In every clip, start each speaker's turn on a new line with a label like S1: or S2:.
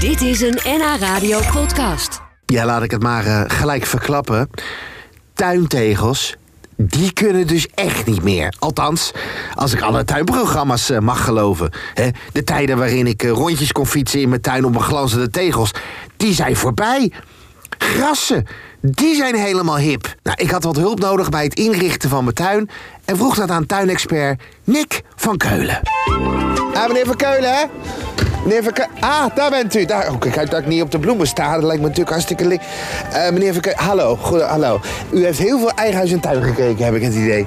S1: Dit is een NH Radio podcast.
S2: Ja, laat ik het maar eh, gelijk verklappen. Tuintegels, die kunnen dus echt niet meer. Althans, als ik alle tuinprogramma's eh, mag geloven. Hè, de tijden waarin ik eh, rondjes kon fietsen in mijn tuin op mijn glanzende tegels, die zijn voorbij. Grassen, die zijn helemaal hip. Nou, ik had wat hulp nodig bij het inrichten van mijn tuin en vroeg dat aan tuinexpert Nick van Keulen. Ah, meneer Van Keulen, hè? Meneer Van Keulen. Ah, daar bent u. Daar, oh, kijk uit dat ik niet op de bloemen sta. Dat lijkt me natuurlijk hartstikke link. Eh, meneer Van Keulen, hallo. Goed, hallo. U heeft heel veel eigen huis en tuin gekeken, heb ik het idee.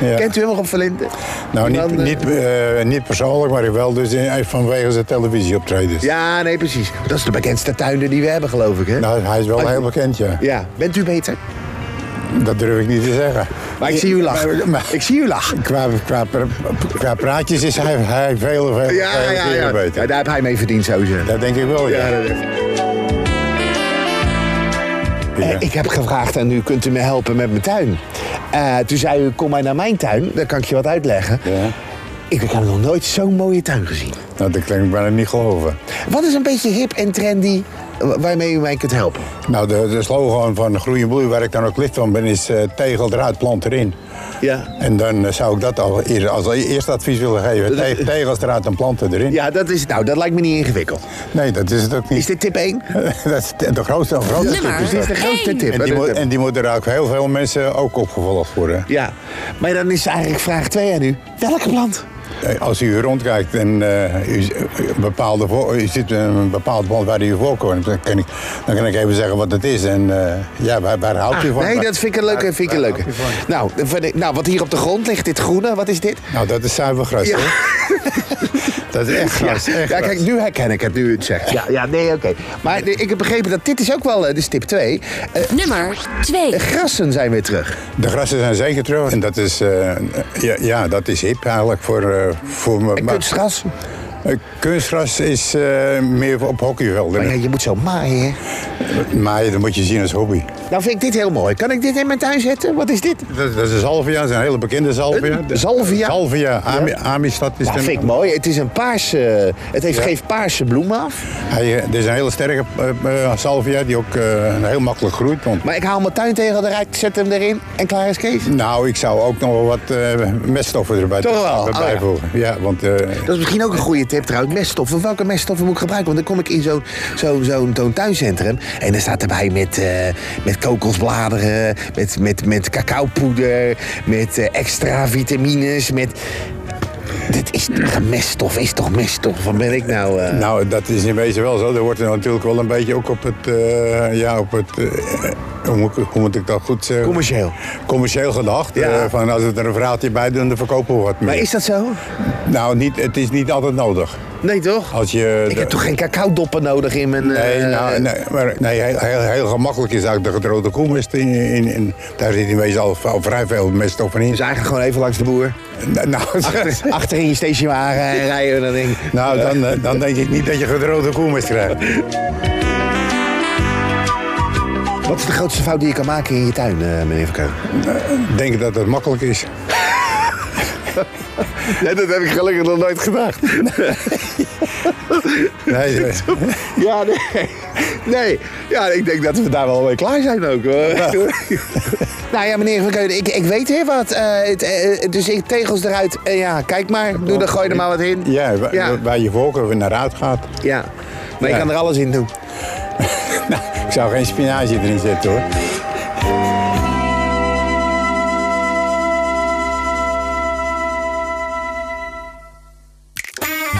S3: Ja.
S2: Kent u hem nog op Verlinden?
S3: Nou, niet,
S2: Dan, eh,
S3: niet, eh, niet persoonlijk, maar wel dus eh, vanwege zijn dus. televisieoptredens.
S2: Ja, nee, precies. Dat is de bekendste tuinder die we hebben, geloof ik, hè?
S3: Nou, hij is wel heel bekend, ja.
S2: Ja, bent u beter?
S3: Dat durf ik niet te zeggen.
S2: Maar ik zie u lachen.
S3: Maar- maar-
S2: Ik zie u lachen.
S3: Qua, qua, pra- qua praatjes is hij, hij veel, veel,
S2: Ja,
S3: veel
S2: ja,
S3: keren
S2: ja.
S3: beter.
S2: ja daar heb hij mee verdiend, zou je zeggen.
S3: Dat denk ik wel, ja.
S2: Ja, dat is-
S3: Ja.
S2: Eh, Ik heb gevraagd aan u, kunt u me helpen met mijn tuin? Eh, toen zei u, kom maar naar mijn tuin, dan kan ik je wat uitleggen.
S3: Ja.
S2: Ik heb nog nooit zo'n mooie tuin gezien.
S3: Nou, dat kan ik bijna niet geloven.
S2: Wat is een beetje hip en trendy wa- waarmee u mij kunt helpen?
S3: Nou, de, de slogan van Groei en Bloei, waar ik dan ook lid van ben, is eh, tegel eruit, plant erin.
S2: Ja.
S3: En dan eh, zou ik dat al eer- als eerste advies willen geven. Te- tegels eruit en planten erin.
S2: Ja, dat is het. Nou, dat lijkt me niet ingewikkeld.
S3: Nee, dat is het ook niet.
S2: Is dit tip 1?
S3: dat is de de grootste, de grootste tip
S1: Nummer
S3: is
S2: Dit is
S3: dat.
S2: de grootste
S1: één.
S2: tip.
S3: En die,
S2: hè?
S3: moet, en die moeten er ook heel veel mensen ook opgevolgd worden.
S2: Ja, maar dan is eigenlijk vraag 2 aan u. Welke plant?
S3: Eh, Als u rondkijkt en eh, u, z- een bepaalde, vo- u ziet een bepaald land waar u voorkomt, dan kan, ik, dan kan ik even zeggen wat het is. En eh, ja, waar, waar houdt u van?
S2: Ah, nee,
S3: Waar-
S2: dat vind ik een leuke. Vind ik een
S3: waar
S2: leuke.
S3: houdt u van?
S2: Nou, van de- nou, wat hier op de grond ligt, dit groene, wat is dit?
S3: Nou, dat is zuiver gras,
S2: Ja.
S3: hoor. dat is echt gras.
S2: ja,
S3: echt
S2: ja,
S3: gras.
S2: kijk, nu herken ik het, nu u het zegt. Ja, ja nee, oké. Maar nee, ik heb begrepen dat dit is ook wel, eh, dus tip 2.
S1: Nummer 2.
S2: grassen zijn weer terug.
S3: De grassen zijn zeker terug. En dat is, eh, ja, ja, dat is hip eigenlijk voor, eh, voor me.
S2: En
S3: maar-
S2: kunstgras.
S3: Eh, kunstgras is eh, meer op hockeyvelden.
S2: Maar ja, je moet zo maaien. hè?
S3: Maar dat moet je zien als hobby.
S2: Nou vind ik dit heel mooi. Kan ik dit in mijn tuin zetten? Wat is dit?
S3: Dat, dat is een zalvia, dat is een hele bekende zalvia.
S2: Een zalvia?
S3: Zalvia, Ami, Amistad is
S2: Dat
S3: een-
S2: Nou, vind ik mooi. Het is een paarse... Het heeft,
S3: Ja.
S2: geeft paarse bloemen af.
S3: Hij, eh, dit is een hele sterke eh, eh, salvia die ook eh, heel makkelijk groeit. Want,
S2: Maar ik haal mijn tuintegel eruit, zet hem erin en klaar is Kees.
S3: nou, ik zou ook nog wel wat eh, meststoffen erbij
S2: Toch wel?
S3: erbij
S2: Oh, ja.
S3: voegen. Ja, want eh,
S2: Dat is misschien ook een goede tip trouwens. Meststoffen. Welke meststoffen moet ik gebruiken? Want dan kom ik in zo'n zo'n zo'n zo'n tuincentrum. En dan staat erbij met, eh, met kokosbladeren, met, met, met cacaopoeder, met eh, extra vitamines, met... Dit is meststof, is toch meststof? Wat ben ik nou... eh?
S3: nou, dat is in wezen wel zo. Er wordt er natuurlijk wel een beetje ook op het, eh, ja, op het, eh, hoe, moet ik- hoe moet ik dat goed zeggen?
S2: Commercieel.
S3: Commercieel gedacht.
S2: Ja.
S3: eh, van als we er een verhaaltje bij doen, dan verkopen we wat meer.
S2: Maar is dat zo?
S3: Nou, niet, het is niet altijd nodig.
S2: Nee toch?
S3: Als je
S2: Ik
S3: de-
S2: heb toch geen cacaodoppen nodig in mijn...
S3: Nee,
S2: eh,
S3: nou, nee, maar, nee heel, heel, heel gemakkelijk is eigenlijk de gedroogde koelmest. In, in, in- daar zit in wezen al, al vrij veel meststoffen in.
S2: Dus eigenlijk gewoon even langs de boer.
S3: Nou,
S2: Achter, achterin je stationwagen en rijden we dat ding.
S3: nou dan, eh, dan denk ik niet dat je gedroogde koelmest krijgt.
S2: Wat is de grootste fout die je kan maken in je tuin, eh, meneer Van Keulen?
S3: Ik denk dat het makkelijk is.
S2: Ja, dat heb ik gelukkig nog nooit gedacht.
S3: Nee, eh,
S2: Ja, nee. Nee. Ja, ik denk dat we daar wel mee klaar zijn ook. Hoor. nou ja, meneer Van Keulen, ik, ik weet weer wat. Eh, het, eh, dus ik tegels eruit. Eh, ja, kijk maar. Doe, dan gooi je er maar wat in.
S3: ja, waar,
S2: Ja.
S3: waar je voorkeur weer naar uit gaat.
S2: ja. Maar je
S3: Ja.
S2: kan er alles in doen.
S3: Ik zou geen spinazie erin zetten hoor.